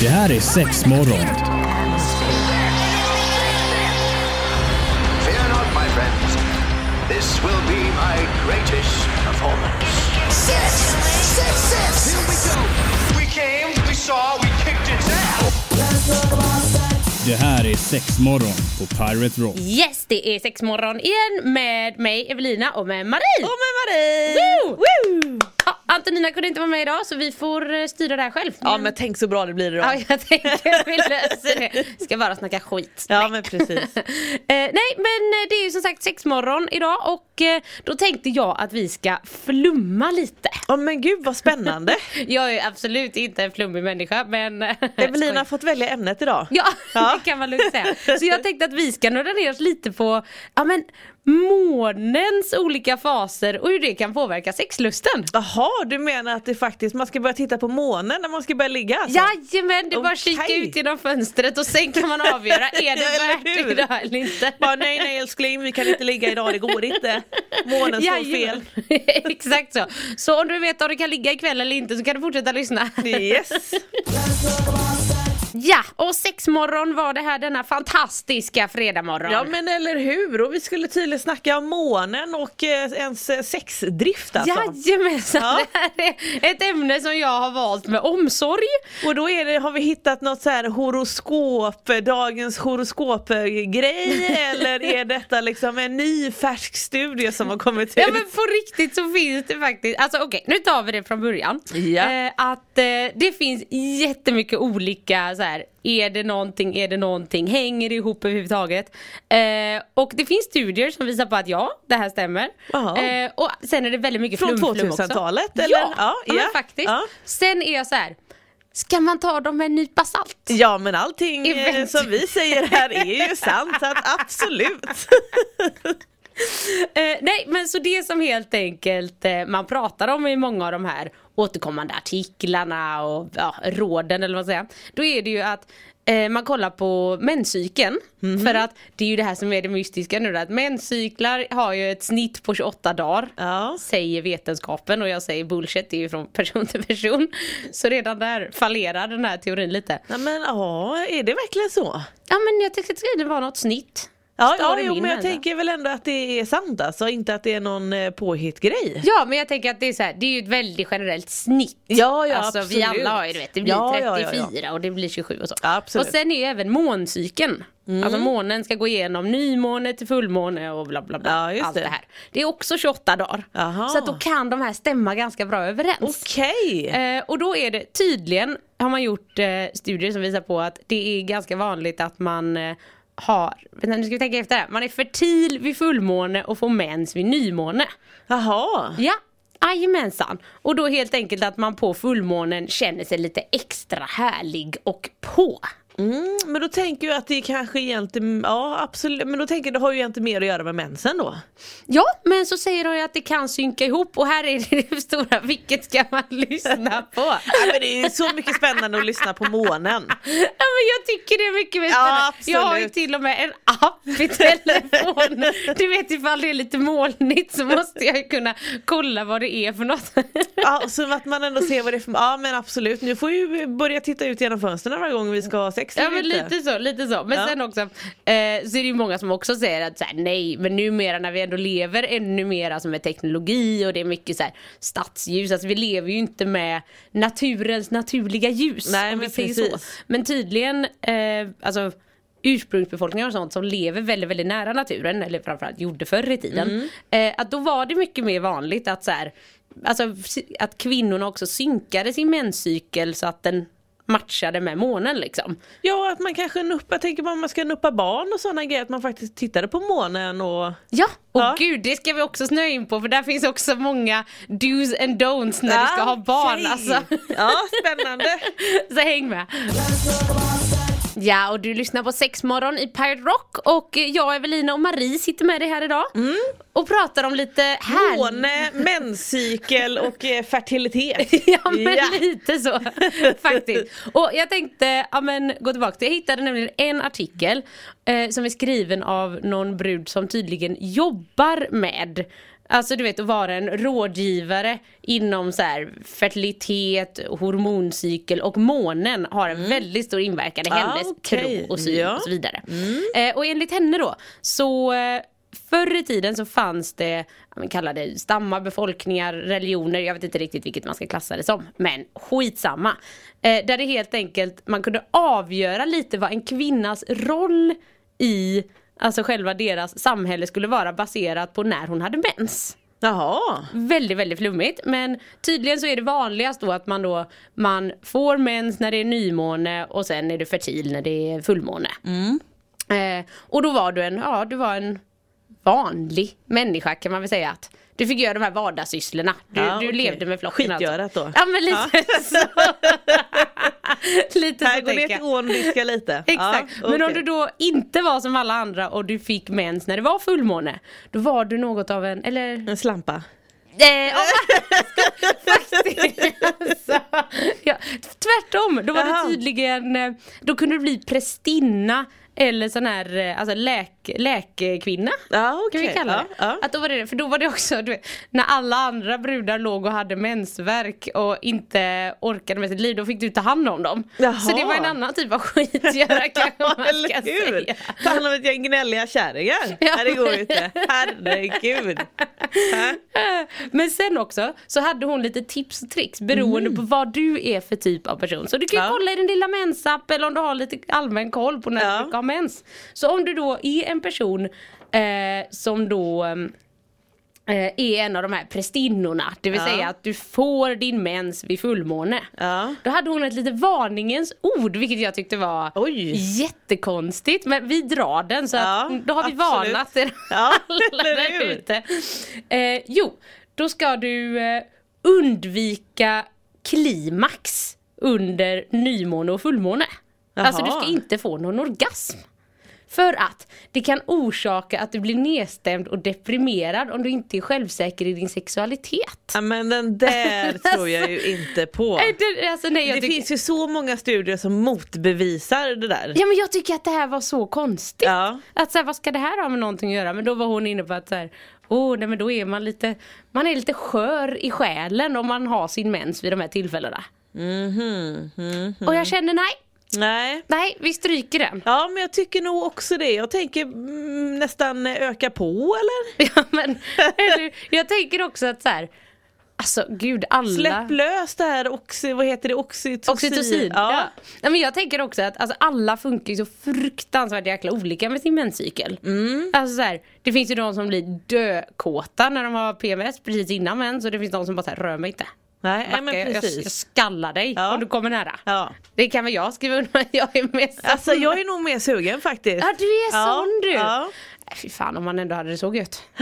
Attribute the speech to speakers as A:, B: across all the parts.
A: Det här är sex morgon.
B: Fear not, my friends. This will be my greatest performance.
C: Six, six, six. Here we go.
B: We came, we saw, we kicked its ass.
A: Det här är sex morgon på Pirate Rock.
D: Yes, det är sexmorgon igen med mig Evelina och med Marie!
E: Och med Marie!
D: Woo!
E: Woo!
D: Ja, Antonina kunde inte vara med idag så vi får eh, styra det här själv.
E: Ja men tänk så bra det blir idag.
D: Ja, jag tänker vi löser det. Ska bara snacka skit.
E: Ja, men precis.
D: eh, nej men eh, det är ju som sagt sexmorgon idag och eh, då tänkte jag att vi ska flumma lite.
E: Ja men gud vad spännande.
D: Jag är absolut inte en flummig människa men...
E: Evelina har fått välja ämnet idag.
D: Ja,
E: Ja.
D: det kan man lugnt säga. Så jag tänkte att vi ska nörda ner oss lite på ja, men, månens olika faser och hur det kan påverka sexlusten.
E: Jaha du menar att det faktiskt, man ska börja titta på månen när man ska börja ligga alltså?
D: Jajamän, det är bara att kika
E: Okej.
D: ut genom fönstret och sen kan man avgöra, är
E: Ja, eller
D: det värt det
E: hur?
D: idag eller inte?
E: Bara nej nej älskling vi kan inte ligga idag, det går inte. Månen står fel.
D: Jajamän. Exakt så. Så om du vet om du kan ligga ikväll eller inte så kan du fortsätta lyssna.
E: Yes.
D: Ja, och sexmorgon var det här denna fantastiska fredagmorgon.
E: Ja men eller hur, och vi skulle tydligen snacka om månen och eh, ens eh, sexdrift alltså.
D: Jajamensan,
E: Ja.
D: det här är ett ämne som jag har valt med omsorg.
E: Och då är det, har vi hittat något så här horoskop, eh, dagens horoskopgrej eller är detta liksom en ny färsk studie som har kommit ut?
D: Ja men på riktigt så finns det faktiskt, alltså okej nu tar vi det från början.
E: Ja.
D: Eh, att eh, det finns jättemycket olika så här. är det någonting, är det någonting, hänger det ihop överhuvudtaget? Eh, och det finns studier som visar på att ja, det här stämmer.
E: Jaha.
D: Eh, och sen är det väldigt mycket
E: Från
D: flum-flum också.
E: 2000-talet,
D: Ja,
E: eller?
D: ja,
E: Ja, ja.
D: Men faktiskt.
E: Ja.
D: Sen är jag så här. ska man ta dem med en nypa salt?
E: Ja men allting eh,
D: Event.
E: som vi säger här är ju sant, så att absolut.
D: Eh, nej men så det som helt enkelt eh, man pratar om i många av de här återkommande artiklarna och ja, råden eller vad man säger. Då är det ju att eh, man kollar på menscykeln. För att det är ju det här som är det mystiska nu då, att menscyklar har ju ett snitt på 28 dagar.
E: Ja.
D: Säger vetenskapen och jag säger bullshit, det är ju från person till person. Så redan där fallerar den här teorin lite.
E: Nej, men ja, är det verkligen så?
D: Ja men jag tyckte att det var något snitt.
E: Ja,
D: Står
E: ja
D: i
E: jo,
D: min
E: men jag
D: människa.
E: tänker väl ändå att det är sant alltså, inte att det är någon eh, påhittgrej.
D: Ja men jag tänker att det är så här, det är ju ett väldigt generellt snitt.
E: Ja, ja,
D: alltså, vi
E: absolut.
D: alla har ju du vet, det blir
E: Ja, ja,
D: 34
E: ja,
D: och det blir 27 och så.
E: Ja, absolut. Mm.
D: Och sen är ju även måncykeln. Alltså månen ska gå igenom nymåne till fullmåne och bla bla bla.
E: Ja, just
D: allt det.
E: det
D: här. Det är också 28 dagar.
E: Jaha.
D: Så att då kan de här stämma ganska bra överens.
E: Okej,
D: Eh, och då är det tydligen, har man gjort eh, studier som visar på att det är ganska vanligt att man eh, har, vänta, nu ska vi tänka efter här, man är fertil vid fullmåne och får mens vid nymåne.
E: jaha.
D: Ja, jajamensan. Och då helt enkelt att man på fullmånen känner sig lite extra härlig och på.
E: Mm, men då tänker jag att det kanske egentligen, ja absolut, men då tänker jag det har ju inte mer att göra med mensen då.
D: Ja, men så säger de ju att det kan synka ihop och här är det, det stora, vilket ska man lyssna på?
E: Ja, men det är ju så mycket spännande att lyssna på månen.
D: Ja, men jag tycker det är mycket mer
E: Ja,
D: spännande.
E: absolut.
D: jag har ju till och med en app i telefonen. Du vet ifall det är lite molnigt så måste jag ju kunna kolla vad det är för något.
E: Ja, och så att man ändå ser vad det är för, ja men absolut, nu får vi ju börja titta ut genom fönstren varje gång vi ska ha sex
D: Ja
E: eller
D: men
E: inte.
D: lite så, lite så. Men
E: Ja.
D: sen också eh, så är det ju många som också säger att så här, nej men numera när vi ändå lever ännu mera som med teknologi och det är mycket så här, stadsljus, alltså vi lever ju inte med naturens naturliga ljus.
E: Nej,
D: om vi
E: men
D: säger så.
E: precis.
D: Men tydligen, eh, alltså ursprungsbefolkningar och sånt som lever väldigt väldigt nära naturen eller framförallt gjorde förr i
E: Mm.
D: tiden. Eh, att då var det mycket mer vanligt att så här, alltså, si- att kvinnorna också synkade sin menscykel så att den matchade med månen liksom.
E: Ja, att man kanske nuppar, jag tänker bara om man ska nuppa barn och sådana grejer, att man faktiskt tittade på månen och
D: Ja, och
E: Ja.
D: gud det ska vi också snöa in på för där finns också många do's and don'ts när du ska ha barn.
E: Okej.
D: Alltså.
E: Ja, spännande.
D: Så häng med. Ja, och du lyssnar på Sexmorgon i Pirate Rock och jag, Evelina och Marie sitter med dig här idag
E: Mm.
D: och pratar om lite härliga
E: Måne, menscykel och eh, fertilitet.
D: Ja men
E: Ja.
D: lite så faktiskt. Och jag tänkte ja, men, gå tillbaka till, jag hittade nämligen en artikel eh, som är skriven av någon brud som tydligen jobbar med Alltså du vet att vara en rådgivare inom så här, fertilitet, hormoncykel och månen har en väldigt stor inverkan i
E: Ah,
D: hennes
E: okej.
D: tro och syn
E: Ja. Mm.
D: och så vidare. Eh, och enligt henne då så eh, förr i tiden så fanns det, ja, men kalla det stammar, befolkningar, religioner, jag vet inte riktigt vilket man ska klassa det som, men skitsamma. Eh, där det helt enkelt, man kunde avgöra lite vad en kvinnas roll i Alltså själva deras samhälle skulle vara baserat på när hon hade mens.
E: Jaha.
D: Väldigt, väldigt flummigt. Men tydligen så är det vanligast då att man då man får mens när det är nymåne och sen är du fertil när det är fullmåne.
E: Mm.
D: Eh, och då var du en, ja du var en vanlig människa kan man väl säga att du fick göra de här vardagssysslorna. Du,
E: Ja,
D: du
E: okej.
D: levde med flocken alltså.
E: Skitgörat då.
D: Ja men lite så. lite
E: Här
D: så
E: går ner
D: tänker
E: till
D: jag.
E: ån och diska lite.
D: Exakt.
E: Ja,
D: Men om
E: okej.
D: du då inte var som alla andra och du fick mens när det var fullmåne. Då var du något av en, eller
E: En slampa.
D: Eh, ja, faktiskt. Alltså, ja, tvärtom, då var
E: Jaha.
D: det tydligen, eh, då kunde du bli prästinna eller sån här eh, alltså läk, läkkvinna.
E: Ja,
D: Kan vi
E: okej.
D: kalla det.
E: Ja, ja.
D: Att då var det det, för då var det också du vet, när alla andra brudar låg och hade mensvärk och inte orkade med sitt liv, då fick du ta hand om dem.
E: Jaha.
D: Så det var en annan typ av skitgöra kanske man ska
E: Eller hur?
D: säga.
E: Ta hand om ett gäng gnälliga kärringar.
D: Ja.
E: Nej, det går ju inte. Herregud. Hä?
D: Men sen också så hade hon lite tips och tricks beroende på vad du är för typ av person. Så du kan ju
E: Mm. Ja.
D: kolla i din lilla mensapp eller om du har lite allmän koll på när
E: Ja.
D: du ska ha mens. Så om du då är en person eh, som då eh, är en av de här prästinnorna, det vill
E: Ja.
D: säga att du får din mens vid fullmåne.
E: Ja.
D: Då hade hon ett litet varningens ord vilket jag tyckte var
E: Oj.
D: jättekonstigt. Men vi drar den så att
E: Ja,
D: då har vi
E: absolut.
D: varnat er
E: Ja,
D: alla
E: eller
D: där
E: hur?
D: ute. Eh, jo, då ska du eh, undvika klimax under nymåne och fullmåne.
E: Jaha.
D: Alltså du ska inte få någon orgasm. För att det kan orsaka att du blir nedstämd och deprimerad om du inte är självsäker i din sexualitet.
E: Ja, men den där tror jag ju inte på.
D: Nej, det, alltså, nej, jag
E: Det
D: tycker-
E: finns ju så många studier som motbevisar det där.
D: Ja men jag tycker att det här var så konstigt.
E: Ja.
D: Att så här, vad ska det här ha med någonting att göra? Men då var hon inne på att så här, oh, nej men då är man lite, man är lite skör i själen om man har sin mens vid de här tillfällena. Och jag kände nej,
E: Nej.
D: nej vi stryker den.
E: Ja men jag tycker nog också det. Jag tänker mm, nästan eh, öka på eller?
D: Ja, men, eller, jag tänker också att så här, alltså gud alla
E: Släpp lös det här oxy, vad heter det? Oxytocin.
D: Oxytocin. Ja.
E: Ja.
D: Nej, men jag tänker också att alltså, alla funkar ju så fruktansvärt jäkla olika med sin menscykel.
E: Mm.
D: Alltså, så här, det finns ju de som blir dökåta när de har PMS precis innan mens och det finns de som bara så här, rör mig inte.
E: Nej, nej
D: Backa,
E: men
D: jag, jag, jag
E: precis.
D: skallar dig
E: Ja.
D: om du kommer nära.
E: Ja.
D: Det kan väl jag skriva under jag är mest
E: Alltså jag är nog mer sugen faktiskt.
D: Ja du är
E: Ja,
D: sån du!
E: ja.
D: Äh, Fy fan om man ändå hade det så gött.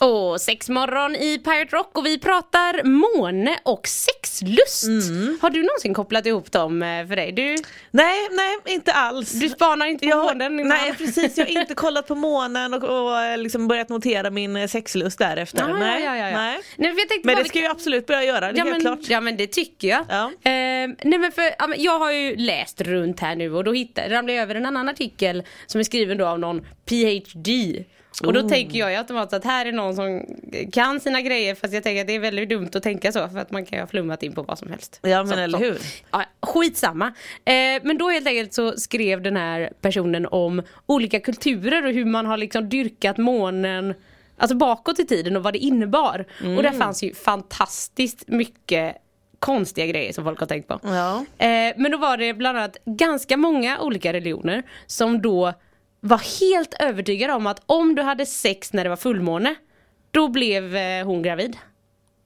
D: och sexmorgon i Pirate Rock och vi pratar måne och sexlust.
E: Mm.
D: Har du någonsin kopplat ihop dem eh, för dig? Du,
E: Nej, nej inte alls.
D: du spanar inte på
E: Jag har,
D: månen innan?
E: nej precis, jag har inte kollat på månen och, och eh, liksom börjat notera min eh, sexlust därefter.
D: Ah,
E: nej,
D: ja, ja, ja, ja.
E: nej.
D: Nej, för jag tänkte
E: Men
D: bara
E: det ska jag absolut börja göra, det är
D: ja,
E: helt
D: men,
E: klart.
D: ja men det tycker jag.
E: Ja.
D: Ehm, nej, men för, ja, men jag har ju läst runt här nu och då hittade, ramlade jag över en annan artikel som är skriven då av någon PhD. Och
E: Oh.
D: då tänker jag ju automatiskt att här är någon som kan sina grejer fast jag tänker att det är väldigt dumt att tänka så för att man kan ju ha flummat in på vad som helst.
E: Ja, men
D: Så-
E: eller
D: så.
E: hur?
D: Ja, skitsamma. Eh, men då helt enkelt så skrev den här personen om olika kulturer och hur man har liksom dyrkat månen Alltså bakåt i tiden och vad det innebar. Och
E: Mm.
D: där fanns ju fantastiskt mycket konstiga grejer som folk har tänkt på.
E: Ja.
D: Eh, men då var det bland annat ganska många olika religioner som då var helt övertygade om att om du hade sex när det var fullmåne, då blev eh, hon gravid.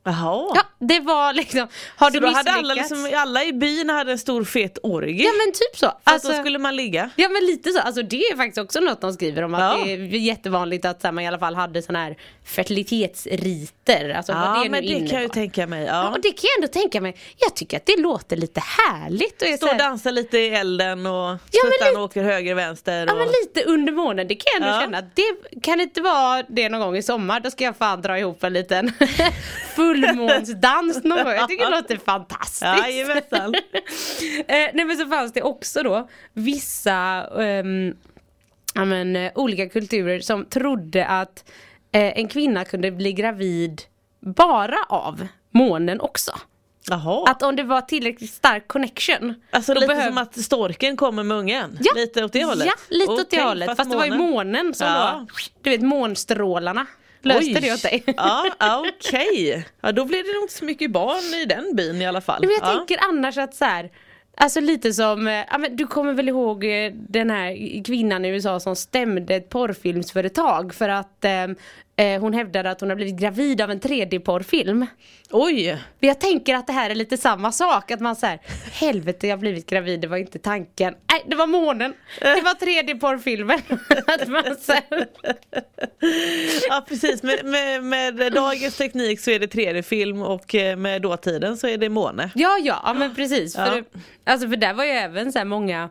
E: Jaha.
D: Ja, det var liksom, har
E: Så
D: du
E: då
D: misslyckats?
E: hade alla, liksom, alla i byn hade en stor fet orgie.
D: Ja men typ så.
E: Fast
D: Alltså-
E: då skulle man ligga.
D: Ja men lite så, alltså det är faktiskt också något de skriver om att
E: Ja.
D: det är jättevanligt att så här, man i alla fall hade sådana här fertilitetsriter. Alltså vad
E: Ja
D: det
E: men
D: nu
E: det kan jag ju
D: innebar.
E: tänka mig.
D: Ja,
E: Ja.
D: och det kan jag ändå tänka mig, jag tycker att det låter lite härligt. Och är så
E: Står och
D: här,
E: dansar lite i elden och
D: Ja, men
E: tuttarna
D: lite-
E: åker höger vänster. Och...
D: ja men lite under månen, det kan jag ändå
E: Ja.
D: känna att det kan inte vara det någon gång i sommar, då ska jag fan dra ihop en liten fullmånsdans någon gång. Jag tycker det låter fantastiskt.
E: Jajamensan.
D: eh, nej men så fanns det också då vissa ehm, ja, men, eh, olika kulturer som trodde att eh, en kvinna kunde bli gravid bara av månen också.
E: Jaha.
D: Att om det var tillräckligt stark connection.
E: Alltså
D: då
E: lite
D: behöv-
E: som att storken kommer med ungen?
D: Ja,
E: Lite åt det hållet?
D: Ja, lite åt
E: Okej,
D: det hållet. Fast, det var ju månen som
E: Ja.
D: då, du vet månstrålarna löste
E: Oj.
D: det åt dig.
E: Ja, ja, okej. Ja, då blev det nog inte så mycket barn i den byn i alla fall.
D: Men jag
E: ja.
D: tänker annars att så här, alltså lite som, eh, ja, men du kommer väl ihåg eh, den här kvinnan i USA som stämde ett porrfilmsföretag för att ehm, eh, hon hävdade att hon har blivit gravid av en 3D-porrfilm.
E: Oj!
D: Men jag tänker att det här är lite samma sak, att man säger helvete jag har blivit gravid, det var inte tanken. Nej, det var månen, det var 3D-porrfilmen. att man så här,
E: Ja precis, med, med, med dagens teknik så är det 3D-film och eh, med dåtiden så är det måne.
D: Ja, ja, ja men precis.
E: Ja.
D: För, alltså, för där var ju även så här många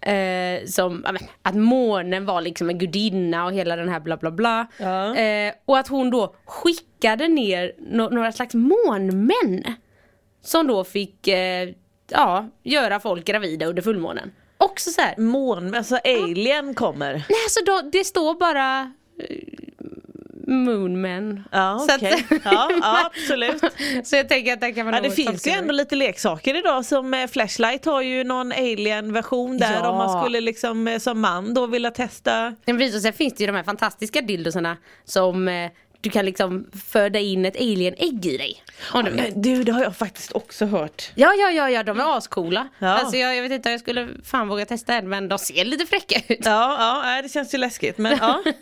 D: eh, som, ja, men, att månen var liksom en gudinna och hela den här bla bla bla.
E: Ja.
D: Eh, och att hon då skickade ner no- några slags månmän. Som då fick, eh, ja, göra folk gravida under fullmånen. Också så här.
E: Mån, alltså alien kommer.
D: nej alltså då, det står bara eh, moonmen.
E: Ja
D: Så
E: okej,
D: att-
E: ja, ja absolut.
D: Så jag tänker att det kan man
E: Ja, det
D: nog
E: finns
D: tolka
E: ju
D: över.
E: ändå lite leksaker idag som eh, Flashlight har ju någon alien-version där
D: Ja.
E: om man skulle liksom eh, som man då vilja testa.
D: Men precis, och sen finns det ju de här fantastiska dildosarna som eh, du kan liksom föda in ett alien-ägg i dig. Om du vill.
E: Men du det har jag faktiskt också hört.
D: Ja, ja, ja, ja, de är ascoola.
E: Ja.
D: Alltså jag, jag vet inte, jag skulle fan våga testa en men de ser lite fräcka ut.
E: Ja, ja nej, det känns ju läskigt men ja.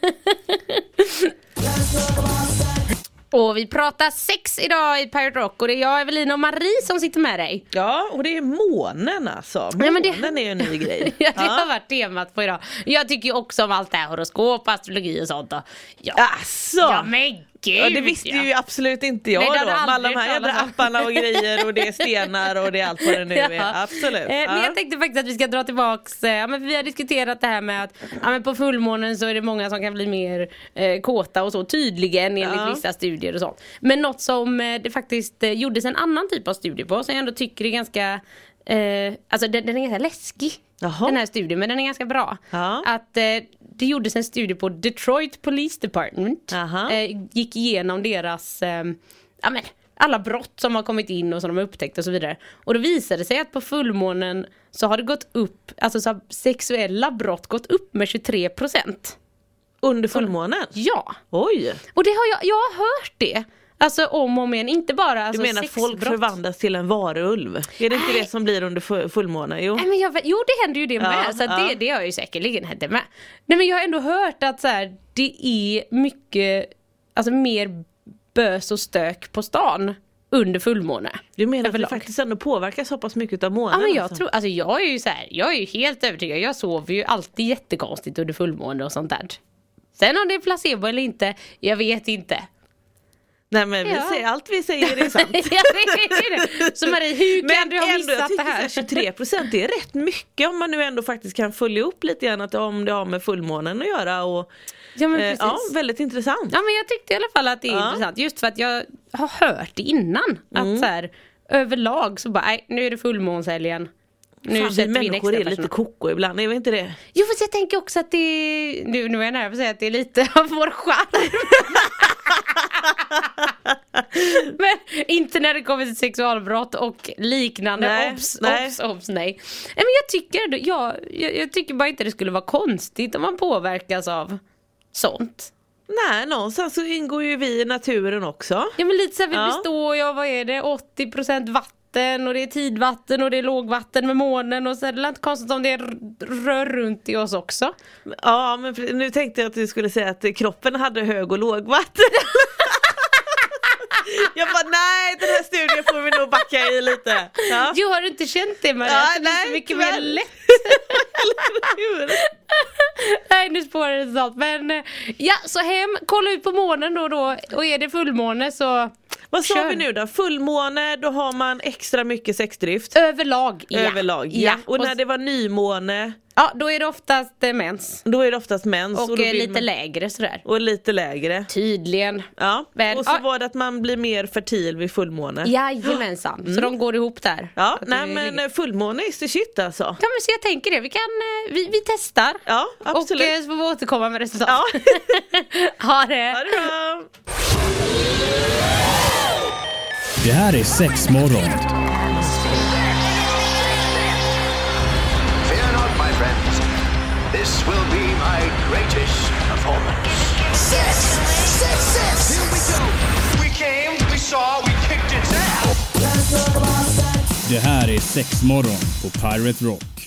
D: Och vi pratar sex idag i Pirate Rock och det är jag, Evelina och Marie som sitter med dig.
E: Ja och det är månen alltså. Månen
D: Ja, men det-
E: är ju en ny grej.
D: Ja, det har varit temat på idag. Jag tycker ju också om allt det här horoskop, astrologi och sånt. då. Ja,
E: Alltså!
D: ja men gud!
E: Ja, det visste
D: ja.
E: ju absolut inte jag
D: Nej, det
E: då.
D: hade
E: Med alla de
D: aldrig
E: här jävla
D: talas om.
E: apparna och grejer och det är stenar och det är allt vad det nu är. Absolut.
D: Eh, Men
E: Ja.
D: jag tänkte faktiskt att vi ska dra tillbaks, eh, ja, men vi har diskuterat det här med att ja, men på fullmånen så är det många som kan bli mer eh, kåta och så tydligen enligt
E: Ja.
D: vissa studier och sånt. Men något som eh, det faktiskt eh, gjordes en annan typ av studie på som jag ändå tycker är ganska Eh, alltså den, den är ganska läskig
E: Jaha.
D: den här studien men den är ganska bra.
E: Ja.
D: Att eh, det gjordes en studie på Detroit Police Department.
E: Jaha.
D: Eh, gick igenom deras eh, ja, men, alla brott som har kommit in och som de har upptäckt och så vidare. Och då visade det sig att på fullmånen så har det gått upp, alltså så har sexuella brott gått upp med 23 procent.
E: Under fullmånen?
D: Ja,
E: Oj!
D: och det har jag, jag har hört det. Alltså om och om igen, inte bara
E: Du
D: alltså,
E: menar att folk
D: sexbrott.
E: förvandlas till en varulv? Är det inte det som blir under fu- fullmånen? Jo.
D: Nej, men jag, vet- jo det händer ju det
E: Ja,
D: med, så att
E: ja.
D: det, det har ju säkerligen hänt det med. Nej men jag har ändå hört att så här, det är mycket, alltså mer bös och stök på stan under fullmåne.
E: Du menar att det
D: Överlag.
E: faktiskt ändå påverkas så pass mycket av månen?
D: Ja men jag
E: alltså?
D: tror, alltså jag är ju så här, jag är ju helt övertygad, jag sover ju alltid jättekonstigt under fullmåne och sånt där. Sen om det är placebo eller inte, jag vet inte.
E: Nej men vi
D: Ja.
E: säger, allt vi säger är sant.
D: Jag vet inte. Så Marie, hur kan du ha
E: jag
D: missat det
E: tycker
D: här?
E: så 23 procent det är rätt mycket om man nu ändå faktiskt kan följa upp lite grann att om det har med fullmånen att göra och
D: Ja men
E: eh,
D: precis.
E: ja, väldigt intressant.
D: Ja men jag tyckte i alla fall att det är
E: Ja. Mm.
D: intressant just för att jag har hört det innan. Att så här, överlag så bara, nej nu är det fullmånshelgen. Nu
E: Fan, vi
D: sätter vi in
E: människor
D: extra
E: är lite
D: personal.
E: koko ibland, är vi inte det?
D: Jo fast jag tänker också att det är, nu, nu är jag nära på att säga att det är lite av vår charm. men inte när det kommer till sexualbrott och liknande.
E: Nej,
D: obs,
E: nej.
D: obs, obs, nej. nej men jag tycker, ändå- jag, jag, jag tycker bara inte det skulle vara konstigt om man påverkas av sånt.
E: Nej, någonstans så ingår ju vi i naturen också.
D: Ja men lite såhär, vi
E: Ja.
D: består ju av, vad är det, 80% vatten och det är tidvatten och det är lågvatten med månen och så är det inte konstigt om det r- rör runt i oss också.
E: Ja, men för- nu tänkte jag att du skulle säga att eh, kroppen hade hög och lågvatten. jag bara, nej den här studien får vi nog backa i lite. Ja.
D: Jo har du inte känt det Maria?
E: Ja,
D: Att det blir
E: nej,
D: så mycket
E: tyvärr.
D: mer lätt.
E: Hur?
D: Nej nu spårar det snart men eh, ja så hem, kolla ut på månen då och då och är det fullmåne så
E: Vad sa
D: Kör.
E: vi nu då? Fullmåne, då har man extra mycket sexdrift.
D: Överlag ja.
E: Överlag. Ja.
D: ja.
E: Och
D: Och
E: när
D: s-
E: det var nymåne,
D: ja, då är det oftast eh, mens.
E: då är det oftast mens.
D: Och,
E: då
D: eh,
E: blir
D: lite
E: man-
D: lägre sådär.
E: Och lite lägre.
D: Tydligen.
E: Ja.
D: Väl-
E: Och så
D: ja.
E: var det att man blir mer fertil vid fullmåne.
D: Jajamensan. Så de går ihop där.
E: Mm. Ja,
D: Att
E: nej
D: det-
E: men eh, fullmåne is the shit alltså.
D: Ja men så jag tänker det, vi, kan, eh, vi, vi testar.
E: Ja, absolut.
D: Och eh, så får vi återkomma med resultat.
E: Ja.
D: ha det!
E: Ha det bra!
A: Det här är sex morgon.
B: Fear not, my friends. This will be my greatest performance.
C: Six, six, six. Here we go.
B: We came, we saw, we kicked its ass.
A: Det här är sex morgon på Pirate Rock.